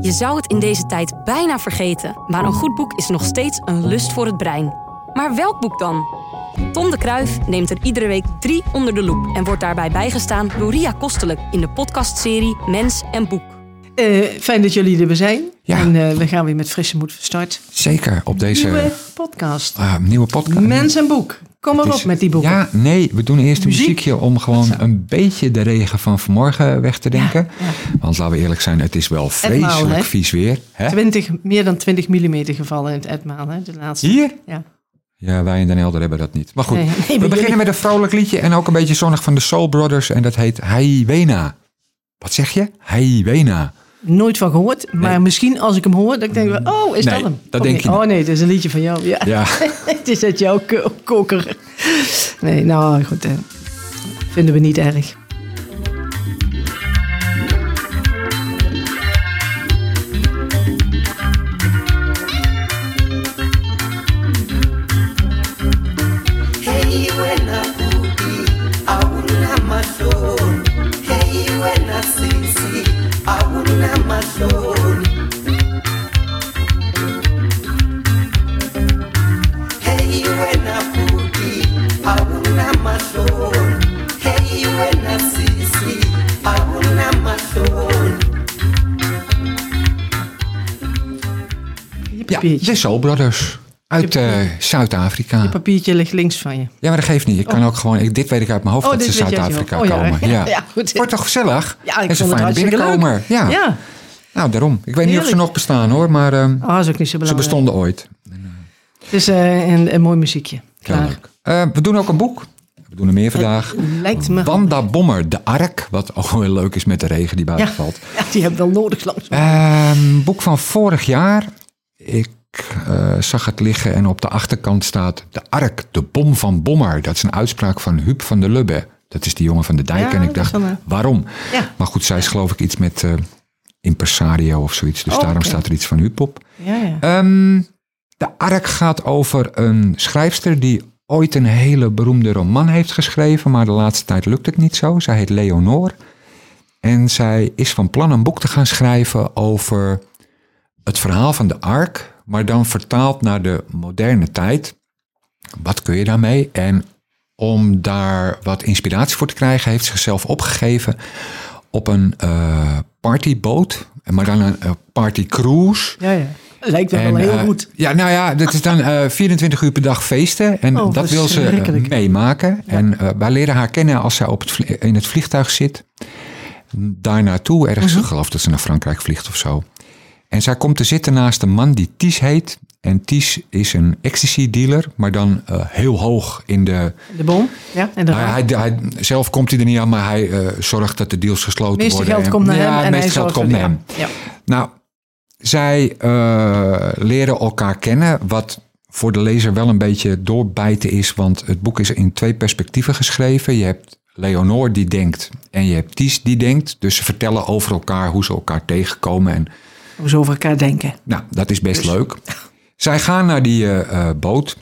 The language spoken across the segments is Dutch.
Je zou het in deze tijd bijna vergeten, maar een goed boek is nog steeds een lust voor het brein. Maar welk boek dan? Tom de Kruif neemt er iedere week drie onder de loep en wordt daarbij bijgestaan door Ria Kostelijk in de podcastserie Mens en Boek. Eh, fijn dat jullie er weer zijn. Ja. En eh, we gaan weer met frisse moed van start. Zeker op deze Nieuwe podcast. eh, ah, nieuwe podcast. Mens en boek. Kom maar Het op is- met die boeken. Ja, nee, we doen eerst een Muziek. muziekje om gewoon een beetje de regen van vanmorgen weg te denken. Want laten we eerlijk zijn, het is wel maal, vreselijk hè? vies weer. Hè? 20, meer dan 20 mm gevallen in het Edmaal, hè, de laatste. Hier? Ja. Ja, wij in Den Helder hebben dat niet. Maar goed, Nee, nee, maar we jullie- beginnen met een vrolijk liedje en ook een beetje zonnig van de Soul Brothers. En dat heet Heiwena. Wat zeg je? Heiwena. Nooit van gehoord, maar Nee. misschien als ik hem hoor, dan denk ik wel, oh, is Nee, dat hem? dat Oh, denk nee. je Oh niet. nee, het is een liedje van jou. Ja, Ja, het is uit jouw ko- koker. Nee, nou goed, eh, vinden we niet erg. Hey, we na budi, auna madoni. Hey, we na sisi, auna madoni. Hey, we na budi, auna madoni. Hey, we na sisi, auna madoni. Je ja papiertje. de Soul Brothers uit eh, Zuid-Afrika. Je papiertje ligt links van je. Ja, maar dat geeft niet. Ik kan ook gewoon, ik, dit weet ik uit mijn hoofd Oh, dat ze dit weet jij Zuid-afrika zo. Oh, ja. komen. Ja, ja, goed. Wordt toch gezellig? Ja, ik en ze vond het fijn hartstikke binnenkomen. leuk. Ja. Ja, nou daarom. Ik weet niet of ze Heerlijk. nog bestaan hoor, maar ehm, Oh, dat is ook niet zo ze belangrijk. bestonden ooit. Het is eh, een, een mooi muziekje. Heel Klaar. leuk. Eh, we doen ook een boek. We doen er meer vandaag. Lijkt me. Wanda Bommer, de Ark. Wat ook wel leuk is met de regen die buiten Ja. valt. Ja, die hebben we wel nodig langs. Ehm, boek van vorig jaar. Ik eh, zag het liggen en op de achterkant staat... De Ark, de bom van Bommer. Dat is een uitspraak van Huub van der Lubbe. Dat is die jongen van de Ja, dijk. en ik dat dacht, is wel, eh, waarom? Ja. Maar goed, zij is geloof ik iets met eh, impresario of zoiets. Dus Oh, daarom oké. staat er iets van Huub op. Ja, ja. Ehm, de Ark gaat over een schrijfster die ooit een hele beroemde roman heeft geschreven, maar de laatste tijd lukt het niet zo. Zij heet Leonor. En zij is van plan een boek te gaan schrijven over het verhaal van de Ark, maar dan vertaald naar de moderne tijd. Wat kun je daarmee? En om daar wat inspiratie voor te krijgen, heeft ze zichzelf opgegeven op een eh, partyboot, maar dan een eh, partycruise. ja, ja. Lijkt me wel En, heel eh, goed. Ja, nou ja, dat is dan eh, 24 uur per dag feesten. En Oh, dat wil ze eh, verschrikkelijk. meemaken. En eh, wij leren haar kennen als zij op het, vlie- in het vliegtuig zit. Daar naartoe, ergens, Mhm. ik geloof dat ze naar Frankrijk vliegt of zo. En zij komt te zitten naast een man die Ties heet. En Ties is een ecstasy dealer, maar dan eh, heel hoog in de... De bom. Ja, en de Hij, raam. hij, hij- zelf komt hij er niet aan, maar hij eh, zorgt dat de deals gesloten Het meeste worden. geld En- komt naar ja, hem. het En hij meeste geld zorgt komt naar voor- hem. Ja. Nou, zij eh, leren elkaar kennen, wat voor de lezer wel een beetje doorbijten is, want het boek is in twee perspectieven geschreven. Je hebt Leonor die denkt en je hebt Ties die denkt. Dus ze vertellen over elkaar hoe ze elkaar tegenkomen en ja. Hoe ze over elkaar denken. nou, dat is Dus- best leuk. Zij gaan naar die eh, eh, boot,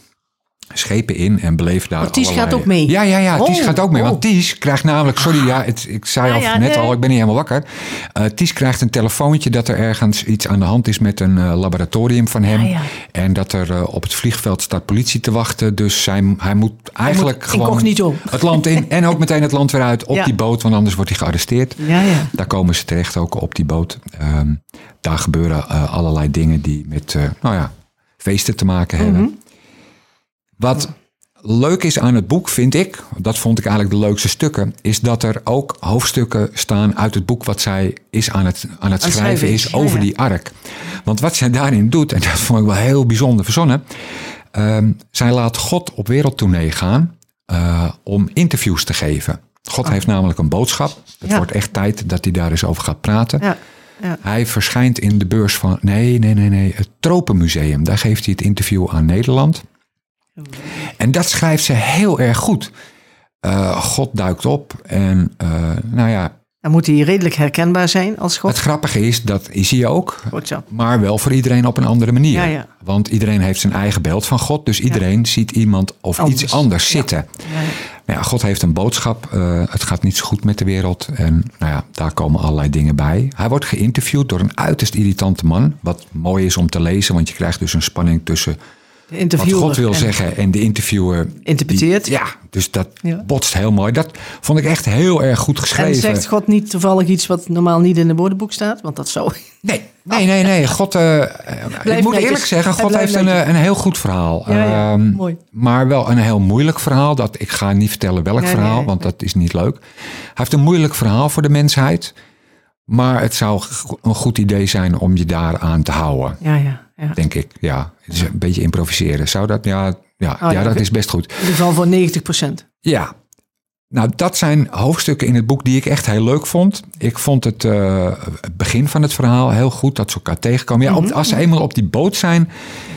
schepen in en beleven daar Oh, Ties allerlei- gaat ook mee? Ja, ja, ja. Ties Oh, gaat ook mee. Want oh. Ties krijgt namelijk... Sorry, ja, het- ik zei Ja, al ja, net nee. al, ik ben niet helemaal wakker. Eh, Ties krijgt een telefoontje dat er ergens iets aan de hand is met een eh, laboratorium van hem. Ah, Ja, ja. En dat er eh, op het vliegveld staat politie te wachten. Dus zij, hij moet eigenlijk gewoon... incognito. Het land in en ook meteen het land weer uit op Ja. die boot. Want anders wordt hij gearresteerd. Ja, ja. Daar komen ze terecht ook op die boot. Ehm, daar gebeuren eh, allerlei dingen die met eh, nou ja, feesten te maken hebben. Wat leuk is aan het boek, vind ik, dat vond ik eigenlijk de leukste stukken, is dat er ook hoofdstukken staan uit het boek wat zij is aan het, aan het schrijven is ja, over ja. die ark. Want wat zij daarin doet, en dat vond ik wel heel bijzonder verzonnen, ehm, zij laat God op wereldtournee gaan eh, om interviews te geven. God heeft namelijk een boodschap. Het Oh. Ja. wordt echt tijd dat hij daar eens over gaat praten. Ja, ja. Hij verschijnt in de beurs van, nee, nee, nee, nee, het Tropenmuseum. Daar geeft hij het interview aan Nederland. En dat schrijft ze heel erg goed. Eh, God duikt op en eh, nou ja, Dan moet hij redelijk herkenbaar zijn als het God. grappige is, dat is hij ook, Goed zo. maar wel voor iedereen op een andere manier. Ja, ja. Want iedereen heeft zijn eigen beeld van God, dus iedereen ziet iemand of Anders. iets anders zitten. Ja, ja. Nou ja, God heeft een boodschap. eh, het gaat niet zo goed met de wereld. En nou ja, daar komen allerlei dingen bij. Hij wordt geïnterviewd door een uiterst irritante man. Wat mooi is om te lezen, want je krijgt dus een spanning tussen De wat interviewer God wil en- zeggen en de interviewer. Interpreteert. Die- ja, dus dat Ja. botst heel mooi. Dat vond ik echt heel erg goed En geschreven. zegt God niet toevallig iets wat normaal niet in de woordenboek staat? Want dat zou... Nee, nee, nee, nee. God, eh, eh, ik Oh. Blijf moet netjes. eerlijk zeggen, Hij God blijft heeft een, netjes. eh, een heel goed verhaal. Ja, ja, Ehm, mooi. Maar wel een heel moeilijk verhaal. Dat, ik ga niet vertellen welk Nee, verhaal, nee, want dat is niet leuk. Hij heeft een moeilijk verhaal voor de mensheid. Maar het zou go- een goed idee zijn om je daaraan te houden, Ja, ja, ja. denk ik. Ja, het is een beetje improviseren. Zou dat? Ja, ja, ja, Oh, ja, dat oké. is best goed. In ieder geval voor 90 procent. Ja. Nou, dat zijn hoofdstukken in het boek die ik echt heel leuk vond. Ik vond het, eh, het begin van het verhaal heel goed, dat ze elkaar tegenkomen. Ja, op- als ze eenmaal op die boot zijn,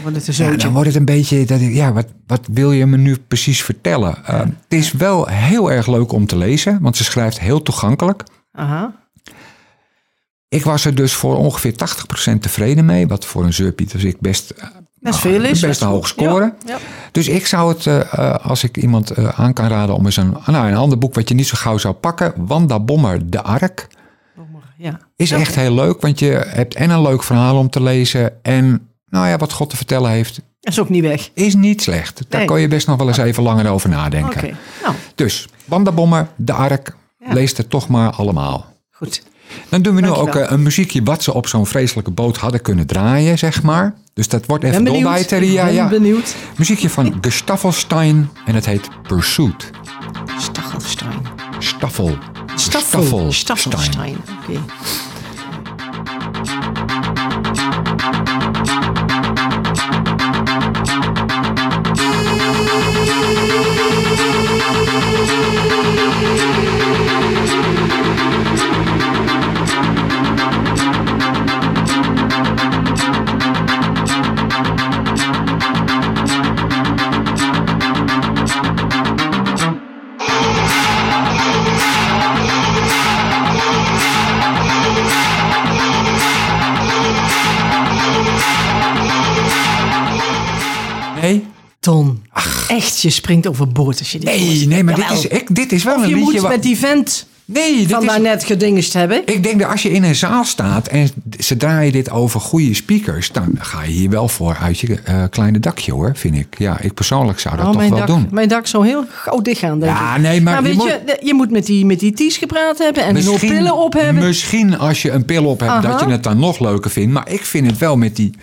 Want het is ja, nou. dan wordt het een beetje... Dat ik, ja, wat, wat wil je me nu precies vertellen? Eh, het is wel heel erg leuk om te lezen, want ze schrijft heel toegankelijk. Aha. Ik was er dus voor ongeveer 80% tevreden mee, wat voor een zeurpiet als ik best... eh, Dat is veel is. Best een hoog scoren. Ja, ja. Dus ik zou het, eh, eh, als ik iemand eh, aan kan raden om eens een, nou, een ander boek wat je niet zo gauw zou pakken, Wanda Bommer, De Ark, Nog maar, ja. is echt heel leuk. Want je hebt en een leuk verhaal om te lezen en nou ja, wat God te vertellen heeft, Dat is ook niet weg. is niet slecht. Daar Nee. kan je best nog wel eens even langer over nadenken. Oké. Nou, Dus Wanda Bommer, De Ark, Ja. lees het toch maar allemaal. goed. Dan doen we nu Dankjewel. ook eh, een muziekje wat ze op zo'n vreselijke boot hadden kunnen draaien, zeg maar. Dus dat wordt Ben even benieuwd. dolbijter. Ja, ben ja. benieuwd. Muziekje van Gestafelstein en het heet Pursuit. Stachelstein. Staffel. Staffel. Staffelstein. Staffelstein. Oké. Nee? Ton. Echt, je springt overboord als je dit Nee, hoort. nee, maar dit Jawel. is, ik, dit is wel Of een je liedje... moet wa- met die vent nee, dit van is, daarnet gedingest hebben. ik denk dat als je in een zaal staat en ze draaien dit over goede speakers... dan ga je hier wel voor uit je eh, kleine dakje hoor, vind ik. Ja, ik persoonlijk zou dat Nou, toch mijn wel dak, doen. mijn dak zou heel gauw dicht gaan, denk Ja, ik. nee, maar maar je weet moet- je, de- je moet met die, met die Ties gepraat hebben en nul pillen op hebben. misschien als je een pil op hebt, dat Aha. je het dan nog leuker vindt. Maar ik vind het wel met die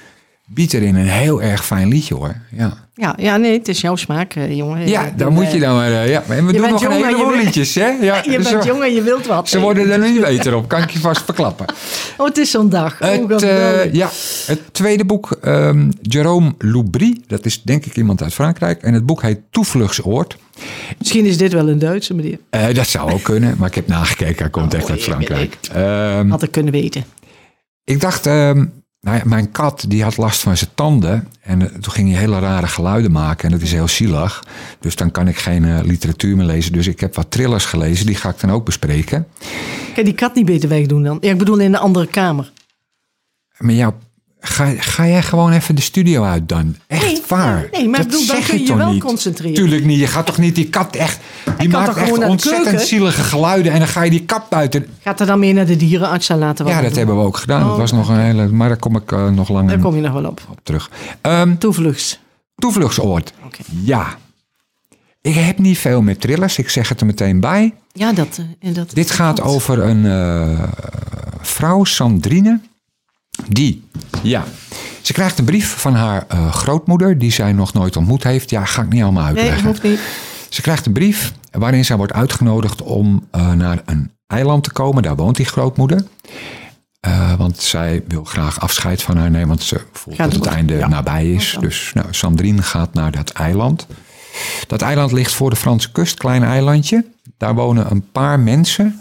beat erin een heel erg fijn liedje hoor. Ja, Ja, ja, nee, het is jouw smaak, eh, jongen. ja Eh, daar moet je dan maar... eh, ja. En we doen bent nog een jong en je heleboel bent- liedjes, hè? Ja, Je dus bent we- jong en je wilt wat. Ze hè? worden er niet beter op, kan ik je vast verklappen. Oh, het is zo'n dag. Oh, Het, geweldig. eh, ja, het tweede boek, ehm Jerome Loubry, dat is denk ik iemand uit Frankrijk. En het boek heet Toevluchtsoord. Misschien is dit wel een Duitse meneer. Eh, dat zou ook kunnen, maar ik heb nagekeken, hij komt echt uit Frankrijk. Ehm, Had ik kunnen weten. ik dacht, ehm, nou ja, mijn kat die had last van zijn tanden. En eh, toen ging hij hele rare geluiden maken en dat is heel zielig. Dus dan kan ik geen eh, literatuur meer lezen. Dus ik heb wat thrillers gelezen, die ga ik dan ook bespreken. Kan je die kat niet beter wegdoen dan? Ja, ik bedoel in de andere kamer. Maar jou, ga, ga jij gewoon even de studio uit dan? Echt Nee, waar? nee, maar ik bedoel, dan zeg kun ik je toch wel niet? concentreren. Tuurlijk niet. Je gaat toch niet die kat echt... Die kan maakt toch echt gewoon naar de ontzettend keuken? Oh. zielige geluiden. En dan ga je die kat buiten... Gaat er dan mee naar de dierenarts en laten we Ja, wat dat doen. hebben we ook gedaan. Dat was nog een hele... Maar daar kom ik eh, nog Oh. Daar langer kom je nog wel op. op terug. Ehm, Toevluchts. toevluchtsoord. Oké. Ja. Ik heb niet veel met thrillers. Ik zeg het er meteen bij. Ja, dat, eh, en dat. Dit gaat dat- over een eh, vrouw, Sandrine. Die, ja. Ze krijgt een brief van haar eh, grootmoeder, die zij nog nooit ontmoet heeft. Ja, ga ik niet allemaal Nee, uitleggen. hoeft niet. Ze krijgt een brief waarin zij wordt uitgenodigd om eh, naar een eiland te komen. Daar woont die grootmoeder. Eh, want zij wil graag afscheid van haar nemen, want ze voelt Gaat dat het door. einde nabij is. Gaat door. Dus nou, Sandrine gaat naar dat eiland. Dat eiland ligt voor de Franse kust, klein eilandje. Daar wonen een paar mensen.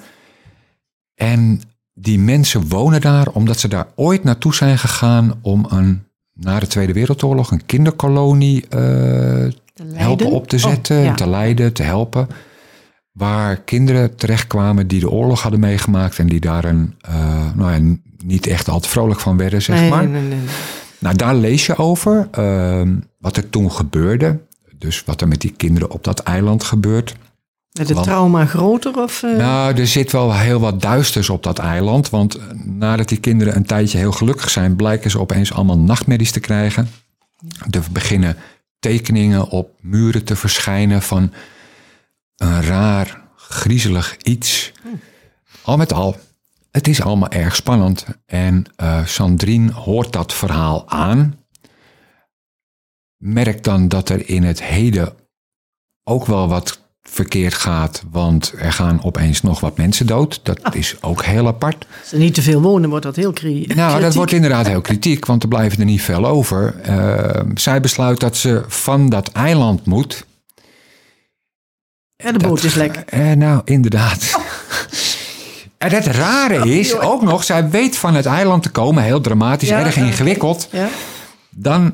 En die mensen wonen daar omdat ze daar ooit naartoe zijn gegaan om een, na de Tweede Wereldoorlog een kinderkolonie eh Te leiden. helpen op te Oh, zetten, ja. te leiden, te helpen. Waar kinderen terechtkwamen die de oorlog hadden meegemaakt en die daar een, eh, nou ja, niet echt altijd vrolijk van werden, zeg nee, maar. nee, nee, nee. Nou, daar lees je over ehm, wat er toen gebeurde. Dus wat er met die kinderen op dat eiland gebeurt. Met het Want- trauma groter? Of, eh, Nou, er zit wel heel wat duisters op dat eiland. Want eh, nadat die kinderen een tijdje heel gelukkig zijn, blijken ze opeens allemaal nachtmerries te krijgen. Er beginnen tekeningen op muren te verschijnen van een raar, griezelig iets. Al met al, het is allemaal erg spannend. En eh, Sandrine hoort dat verhaal aan. Merkt dan dat er in het heden ook wel wat verkeerd gaat, want er gaan opeens nog wat mensen dood. Dat Oh. is ook heel apart. Als er niet te veel wonen, wordt dat heel cri- Nou, dat kritiek. wordt inderdaad heel kritiek, want er blijven er niet veel over. Eh, zij besluit dat ze van dat eiland moet. Ja, de boot Dat- is lek. Eh, nou, inderdaad. Oh. En het rare is ook nog, zij weet van het eiland te komen, heel dramatisch, Ja, erg ja. ingewikkeld. Ja? Dan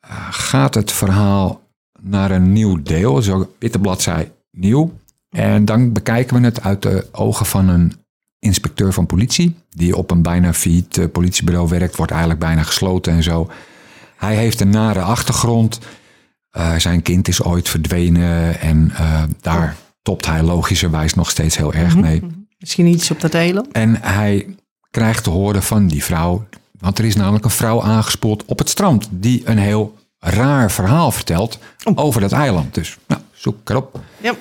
eh, gaat het verhaal naar een nieuw deel, zo witte bladzij nieuw. En dan bekijken we het uit de ogen van een inspecteur van politie, die op een bijna failliet eh, politiebureau werkt, wordt eigenlijk bijna gesloten en zo. Hij heeft een nare achtergrond. Eh, zijn kind is ooit verdwenen en eh, daar topt hij logischerwijs nog steeds heel erg mee. Misschien iets op dat eiland? En hij krijgt te horen van die vrouw. Want er is namelijk een vrouw aangespoeld op het strand. Die een heel raar verhaal vertelt over dat eiland. Dus nou, zoek erop. Ja.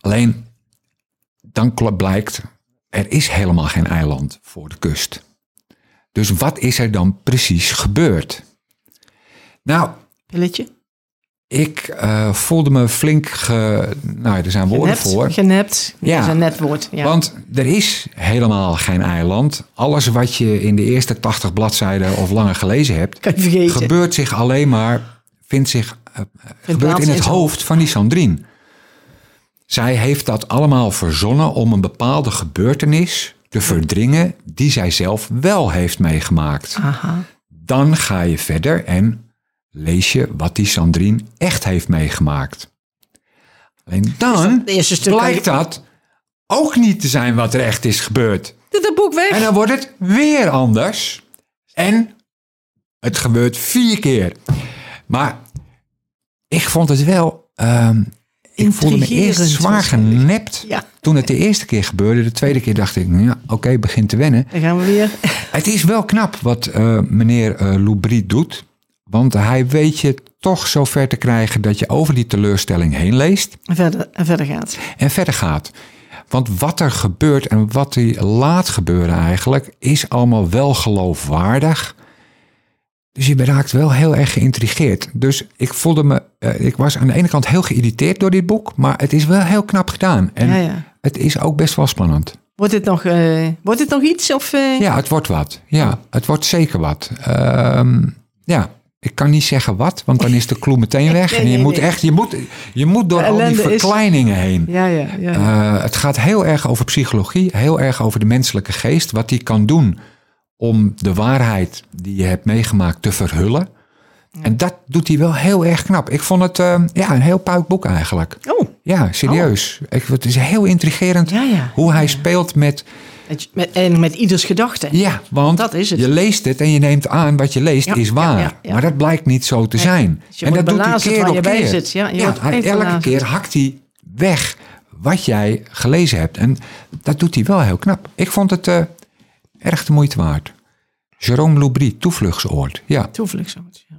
Alleen, dan kl- blijkt, er is helemaal geen eiland voor de kust. Dus wat is er dan precies gebeurd? Nou, Pilletje? ik eh, voelde me flink, ge, nou er zijn woorden Genept? voor. Genept? Ja. Dat is een net woord. Ja. Want er is helemaal geen eiland. Alles wat je in de eerste 80 bladzijden of langer gelezen hebt, kan je vergeten. gebeurt zich alleen maar, vindt zich, eh, gebeurt plaats in in het zijn hoofd van die Sandrine. Zij heeft dat allemaal verzonnen om een bepaalde gebeurtenis te verdringen die zij zelf wel heeft Ah. meegemaakt. Aha. Dan ga je verder en lees je wat die Sandrine echt heeft meegemaakt. Alleen dan Het eerste stuk blijkt dat ook niet te zijn wat er echt is gebeurd. Dit het boek weg. En dan wordt het weer anders. En het gebeurt vier keer. Maar ik vond het wel. ehm, ik voelde me eerst Intrigerend zwaar waarschijnlijk. genept. Ja. Toen het de eerste keer gebeurde. De tweede keer dacht ik, nou ja, oké, begin te wennen. Dan gaan we weer. Het is wel knap wat eh, meneer eh Loubry doet. Want hij weet je toch zover te krijgen dat je over die teleurstelling heen leest En verder, en verder gaat. en verder gaat. Want wat er gebeurt en wat hij laat gebeuren eigenlijk, is allemaal wel geloofwaardig. Dus je raakt wel heel erg geïntrigeerd. Dus ik voelde me, eh, ik was aan de ene kant heel geïrriteerd door dit boek, maar het is wel heel knap gedaan. En Ja, ja. het is ook best wel spannend. Wordt dit nog, eh, wordt dit nog iets? Of, eh, Ja, het wordt wat. Ja, het wordt zeker wat. Ehm, ja, ik kan niet zeggen wat, want dan is de clue meteen weg. Nee, En je nee, moet nee. echt, je moet, je moet door De al die ellende is- verkleiningen heen. ja, ja. ja. Eh, het gaat heel erg over psychologie, heel erg over de menselijke geest, wat die kan doen om de waarheid die je hebt meegemaakt te verhullen. En dat doet hij wel heel erg knap. Ik vond het eh, ja, een heel puik boek eigenlijk. oh, Ja, serieus. Ik, het is heel intrigerend Ja, ja. hoe hij speelt met... met, met- en met ieders gedachte. Ja, want Dat is het. je leest het en je neemt aan wat je leest Ja, is waar. ja, ja, ja. Maar dat blijkt niet zo te zijn. dus je en dat wordt doet hij belazerd keer waar op je bij keer. zit. Ja, je wordt hij- echt elke belazerd. keer hakt hij weg wat jij gelezen hebt. En dat doet hij wel heel knap. Ik vond het eh, erg de moeite waard. Jérôme Loubry, toevluchtsoord. Ja, nou Toevlucht zo. ja.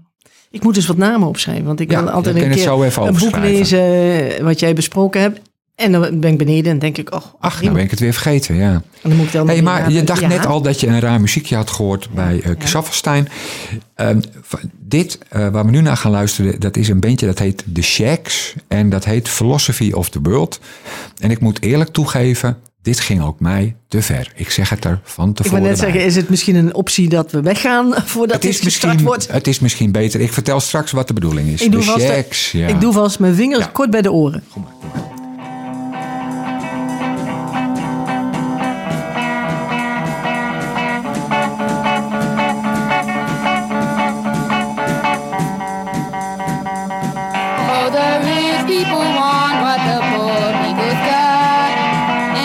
Ik moet dus wat namen opschrijven, want ik Ja, wil dan altijd kun een je het keer zo even een boek overschrijven. lezen eh, wat jij besproken hebt. En dan ben ik beneden en denk ik, oh, ach, nou prima. ben ik het weer vergeten. Ja. En dan moet ik dan Hey, weer maar namen- je dacht Ja. net al dat je een raar muziekje had gehoord bij eh Xaverstein. Ehm, van- dit, eh, waar we nu naar gaan luisteren, dat is een bandje dat heet The Shacks. En dat heet Philosophy of the World. En ik moet eerlijk toegeven, dit ging ook mij te ver. Ik zeg het er van Ik tevoren wil net bij. zeggen, is het misschien een optie dat we weggaan voordat het, is dit gestart misschien, wordt? het is misschien beter. Ik vertel straks wat de bedoeling is. Ik doe The vast- eh, Shacks, ja. Ik doe vast mijn vingers Ja. kort bij de oren. Oh, the rich people want what the poor people's got.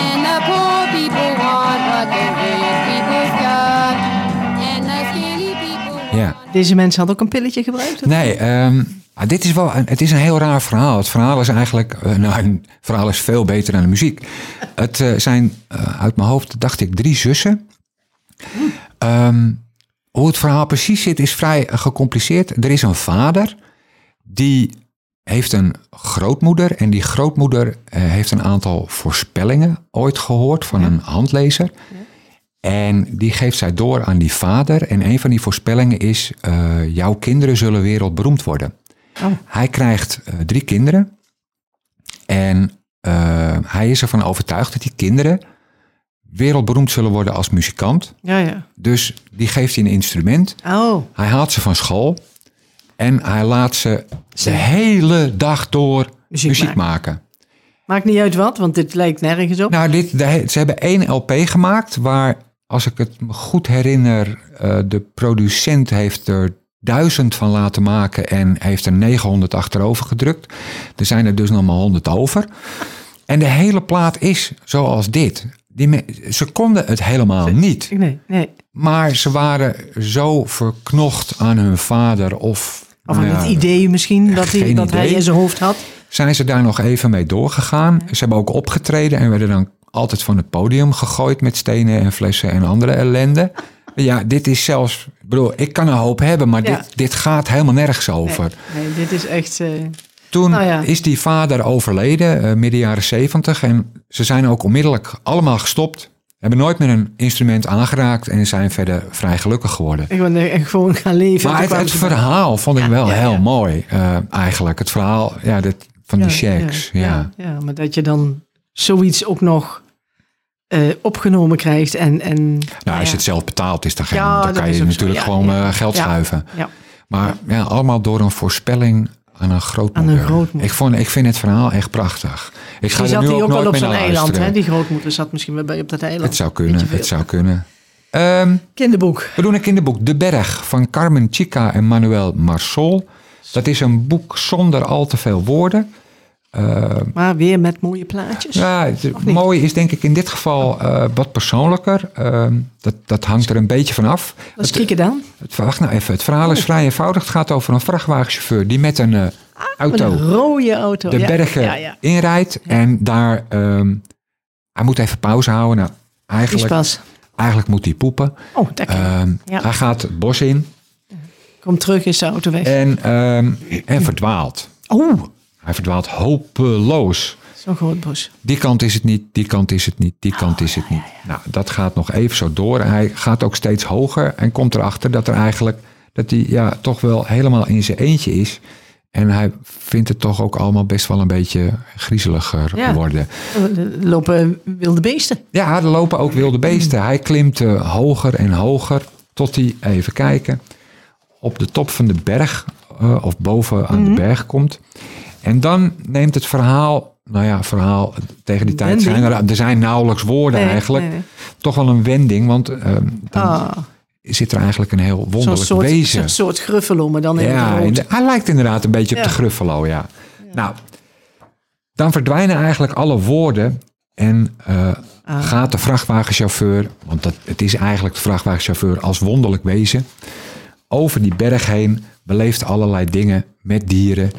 And the poor people want what the rich people's got. And the skinny people want. Ja. Deze mensen hadden ook een pilletje gebruikt? Nee, ehm, ah, dit is wel een, het is een heel raar verhaal. Het verhaal is eigenlijk, eh, nou, een verhaal is veel beter dan de muziek. Het eh, zijn, eh, uit mijn hoofd dacht ik, drie zussen. Ehm, hoe het verhaal precies zit is vrij eh, gecompliceerd. Er is een vader die heeft een grootmoeder en die grootmoeder eh, heeft een aantal voorspellingen ooit gehoord van een handlezer. En die geeft zij door aan die vader. En een van die voorspellingen is: eh, jouw kinderen zullen wereldberoemd worden. Oh. Hij krijgt eh, drie kinderen. En eh, hij is ervan overtuigd dat die kinderen wereldberoemd zullen worden als muzikant. Ja, ja. Dus die geeft hij een instrument. Oh, Hij haalt ze van school. En hij laat ze de hele dag door muziek, Muziek maken. maakt niet uit wat, want dit lijkt nergens op. Nou, dit, de- ze hebben één LP gemaakt waar, als ik het me goed herinner, eh, de producent heeft er duizend van laten maken en heeft er 900 achterover gedrukt. Er zijn er dus nog maar 100 over. En de hele plaat is zoals dit. Die me- ze konden het helemaal niet. Nee, nee. Maar ze waren zo verknocht aan hun vader of... Of nou aan ja, het idee misschien dat, hij, geen dat hij idee. in zijn hoofd had. zijn ze daar nog even mee doorgegaan. Ze hebben ook opgetreden en werden dan altijd van het podium gegooid met stenen en flessen en andere ellende. Ja, dit is zelfs, ik bedoel, ik kan een hoop hebben, maar Ja. dit, dit gaat helemaal nergens over. Nee, nee, dit is echt... eh, Toen Nou ja. is die vader overleden, eh, midden jaren zeventig. En ze zijn ook onmiddellijk allemaal gestopt. Hebben nooit meer een instrument aangeraakt en zijn verder vrij gelukkig geworden. ik ben echt gewoon gaan leven. Maar Toen het, kwamen het ze- verhaal vond ik wel ja, heel ja. mooi eh, eigenlijk. Het verhaal ja, dit, van die shacks. Ja, ja, ja, maar dat je dan zoiets ook nog eh, opgenomen krijgt en... en Nou, als ja. je het zelf betaalt, is dat geen, Ja, dan dat kan is je ook zo. natuurlijk Ja, gewoon ja. eh, geld Ja. schuiven. Ja. Maar ja, allemaal door een voorspelling aan een grootmoeder. Aan een grootmoeder. Ik, vond, ik vind het verhaal echt prachtig. Ik ga Die er zat nu hij ook ook nooit wel op meer zo'n naar eiland, luisteren. hè? Die grootmoeder zat misschien wel bij op dat eiland. Het zou Weet kunnen, je veel. het zou kunnen. Ehm, Kinderboek. we doen een kinderboek De Berg van Carmen Chica en Manuel Marsol. Dat is een boek zonder al te veel woorden. Maar weer met mooie plaatjes. Ja, het niet? mooie is denk ik in dit geval eh, wat persoonlijker. Ehm, dat, dat hangt er een beetje van af. Dat is kieken dan. Het, wacht nou even, het verhaal Oh. is vrij eenvoudig. Het gaat over een vrachtwagenchauffeur die met een eh, Met auto een rode auto. de Ah. Oh, ja. bergen Ja, ja. inrijdt. En daar, ehm, hij moet even pauze houden. Nou, Die is eigenlijk, pas. eigenlijk moet hij poepen. Oh, daar Ehm, Ja. Hij gaat het bos in komt terug is de auto weg. en, ehm, en verdwaalt. oh, Hij verdwaalt hopeloos. zo'n groot bos. Die kant is het niet, die kant is het niet, die kant is het niet. Nou, dat gaat nog even zo door. En Hij gaat ook steeds hoger en komt erachter dat er eigenlijk dat hij ja, toch wel helemaal in zijn eentje is. En hij vindt het toch ook allemaal best wel een beetje griezeliger Ja. worden. Er Eh, lopen wilde beesten. Ja, er lopen ook wilde beesten. Hij klimt eh, hoger en hoger tot hij, even kijken, op de top van de berg eh, of boven aan Mhm. de berg komt. En dan neemt het verhaal, nou ja, verhaal tegen die tijd zijn er, er zijn nauwelijks woorden Nee, eigenlijk, nee. toch wel een wending, want eh, dan Ah, zit er eigenlijk een heel zo'n wonderlijk soort, wezen. zo'n soort gruffelo, maar dan in Ja, het rood. in de- hij lijkt inderdaad een beetje op Ja. de Gruffalo, ja. Nou, dan verdwijnen eigenlijk alle woorden en eh, gaat de vrachtwagenchauffeur, want dat, het is eigenlijk de vrachtwagenchauffeur als wonderlijk wezen, over die berg heen, beleeft allerlei dingen met dieren.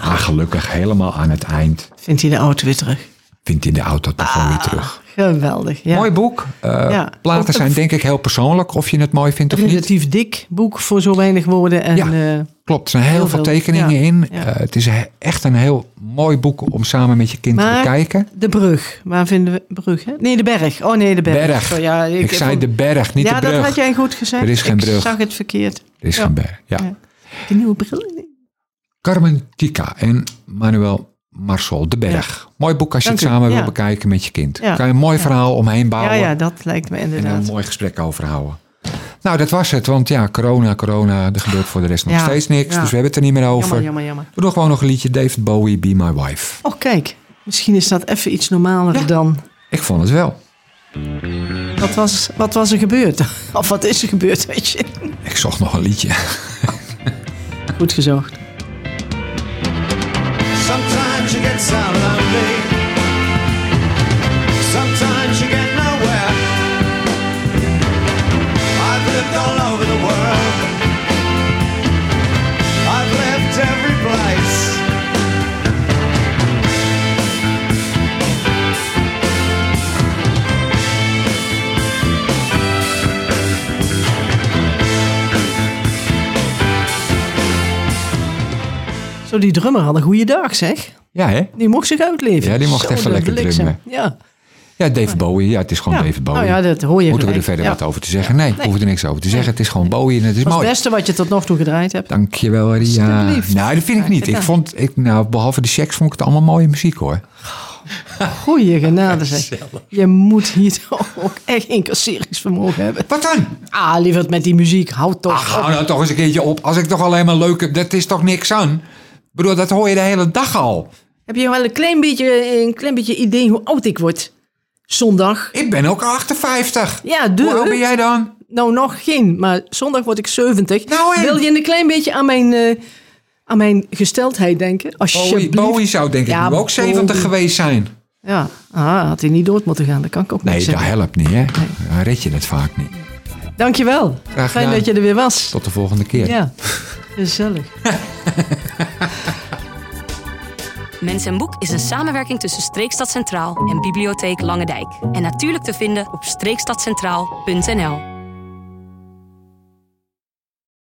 Maar gelukkig helemaal aan het eind Vindt hij de auto weer terug. vindt hij de auto toch wel weer terug. Geweldig, ja. Mooi boek. Eh, Ja. Platen Ook- zijn denk ik heel persoonlijk, of je het mooi vindt of niet. Relatief dik boek voor zo weinig woorden. En, Ja. eh, Klopt, er zijn heel, Heel veel veel, tekeningen ja, in. ja. Eh, het is he- echt een heel mooi boek om samen met je kind te Maar- bekijken. de brug. Waar vinden we brug? Hè? Nee, de berg. Oh nee, de berg. Berg. Zo, ja, Ik, zei vond- de berg, niet ja, de brug. dat had jij goed gezegd. Er is geen brug. Ik zag het verkeerd. Er is Ja. geen berg, ja. Ja. Die nieuwe bril. Carmen Tika en Manuel Marcel, De Berg. Mooi boek als je Dank het u, samen wil ja. bekijken met je kind. Ja. Kan je een mooi verhaal omheen Ja, bouwen ja, dat lijkt me en er een inderdaad. mooi gesprek over houden. Nou, dat was het. Want ja, corona, corona, er gebeurt voor de rest nog Ja, steeds niks. ja. Dus we hebben het er niet meer over. Jammer, jammer, jammer. We doen gewoon nog een liedje. David Bowie, Be My Wife. Oh, kijk. Misschien is dat even iets normaler dan. Ik vond het wel. Wat was, wat was er gebeurd? Of wat is er gebeurd, weet je? Ik zocht nog een liedje. Goed gezocht. Sometimes you get so lonely. Sometimes you get nowhere. I've lived all over the world. Zo, die drummer had een goede dag, zeg. Ja, hè? Die mocht zich uitleven. Ja, die mocht Zo, even de lekker bliksem. drummen. Ja. Ja, Dave Bowie. Ja, het is gewoon ja. Dave Bowie. Nou ja, dat hoor je Moeten we er gelijk. verder Ja. wat over te zeggen? Nee, hoeft er niks over te zeggen. Het is gewoon Bowie en het is Dat is mooi. het beste wat je tot nog toe gedraaid hebt. Dankjewel, Ria. Alsjeblieft. Nou, dat vind ik niet. Ik vond, ik, nou, behalve de seks vond ik het allemaal mooie muziek hoor. Goeie genade, zeg. Je moet hier toch ook echt incasseringsvermogen hebben. Wat dan? Ah, lieverd, met die muziek. Hou toch Ach, op. hou nou toch eens een keertje op. Als ik toch alleen maar leuk heb, dat is toch niks aan? Ik bedoel, dat hoor je de hele dag al. Heb je wel een klein beetje, een klein beetje idee hoe oud ik word? Zondag. Ik ben ook 58. Ja, Hoe oud ben dus. jij dan? Nou, nog geen, maar zondag word ik 70. Nou, en? Wil je een klein beetje aan mijn, eh, aan mijn gesteldheid denken? Bowie, Alsjeblieft. Bowie zou denk ik Ja, nu ook 70 Bowie. geweest zijn. Ja, ah, had hij niet dood moeten gaan. Dat kan ik ook Nee, niet dat zeggen. helpt niet, hè? Dan red je het vaak niet. Dankjewel. Graag Fijn gedaan. dat je er weer was. Tot de volgende keer. Ja, gezellig. Mens en Boek is een samenwerking tussen Streekstad Centraal en Bibliotheek Langendijk. En natuurlijk te vinden op streekstadcentraal.nl.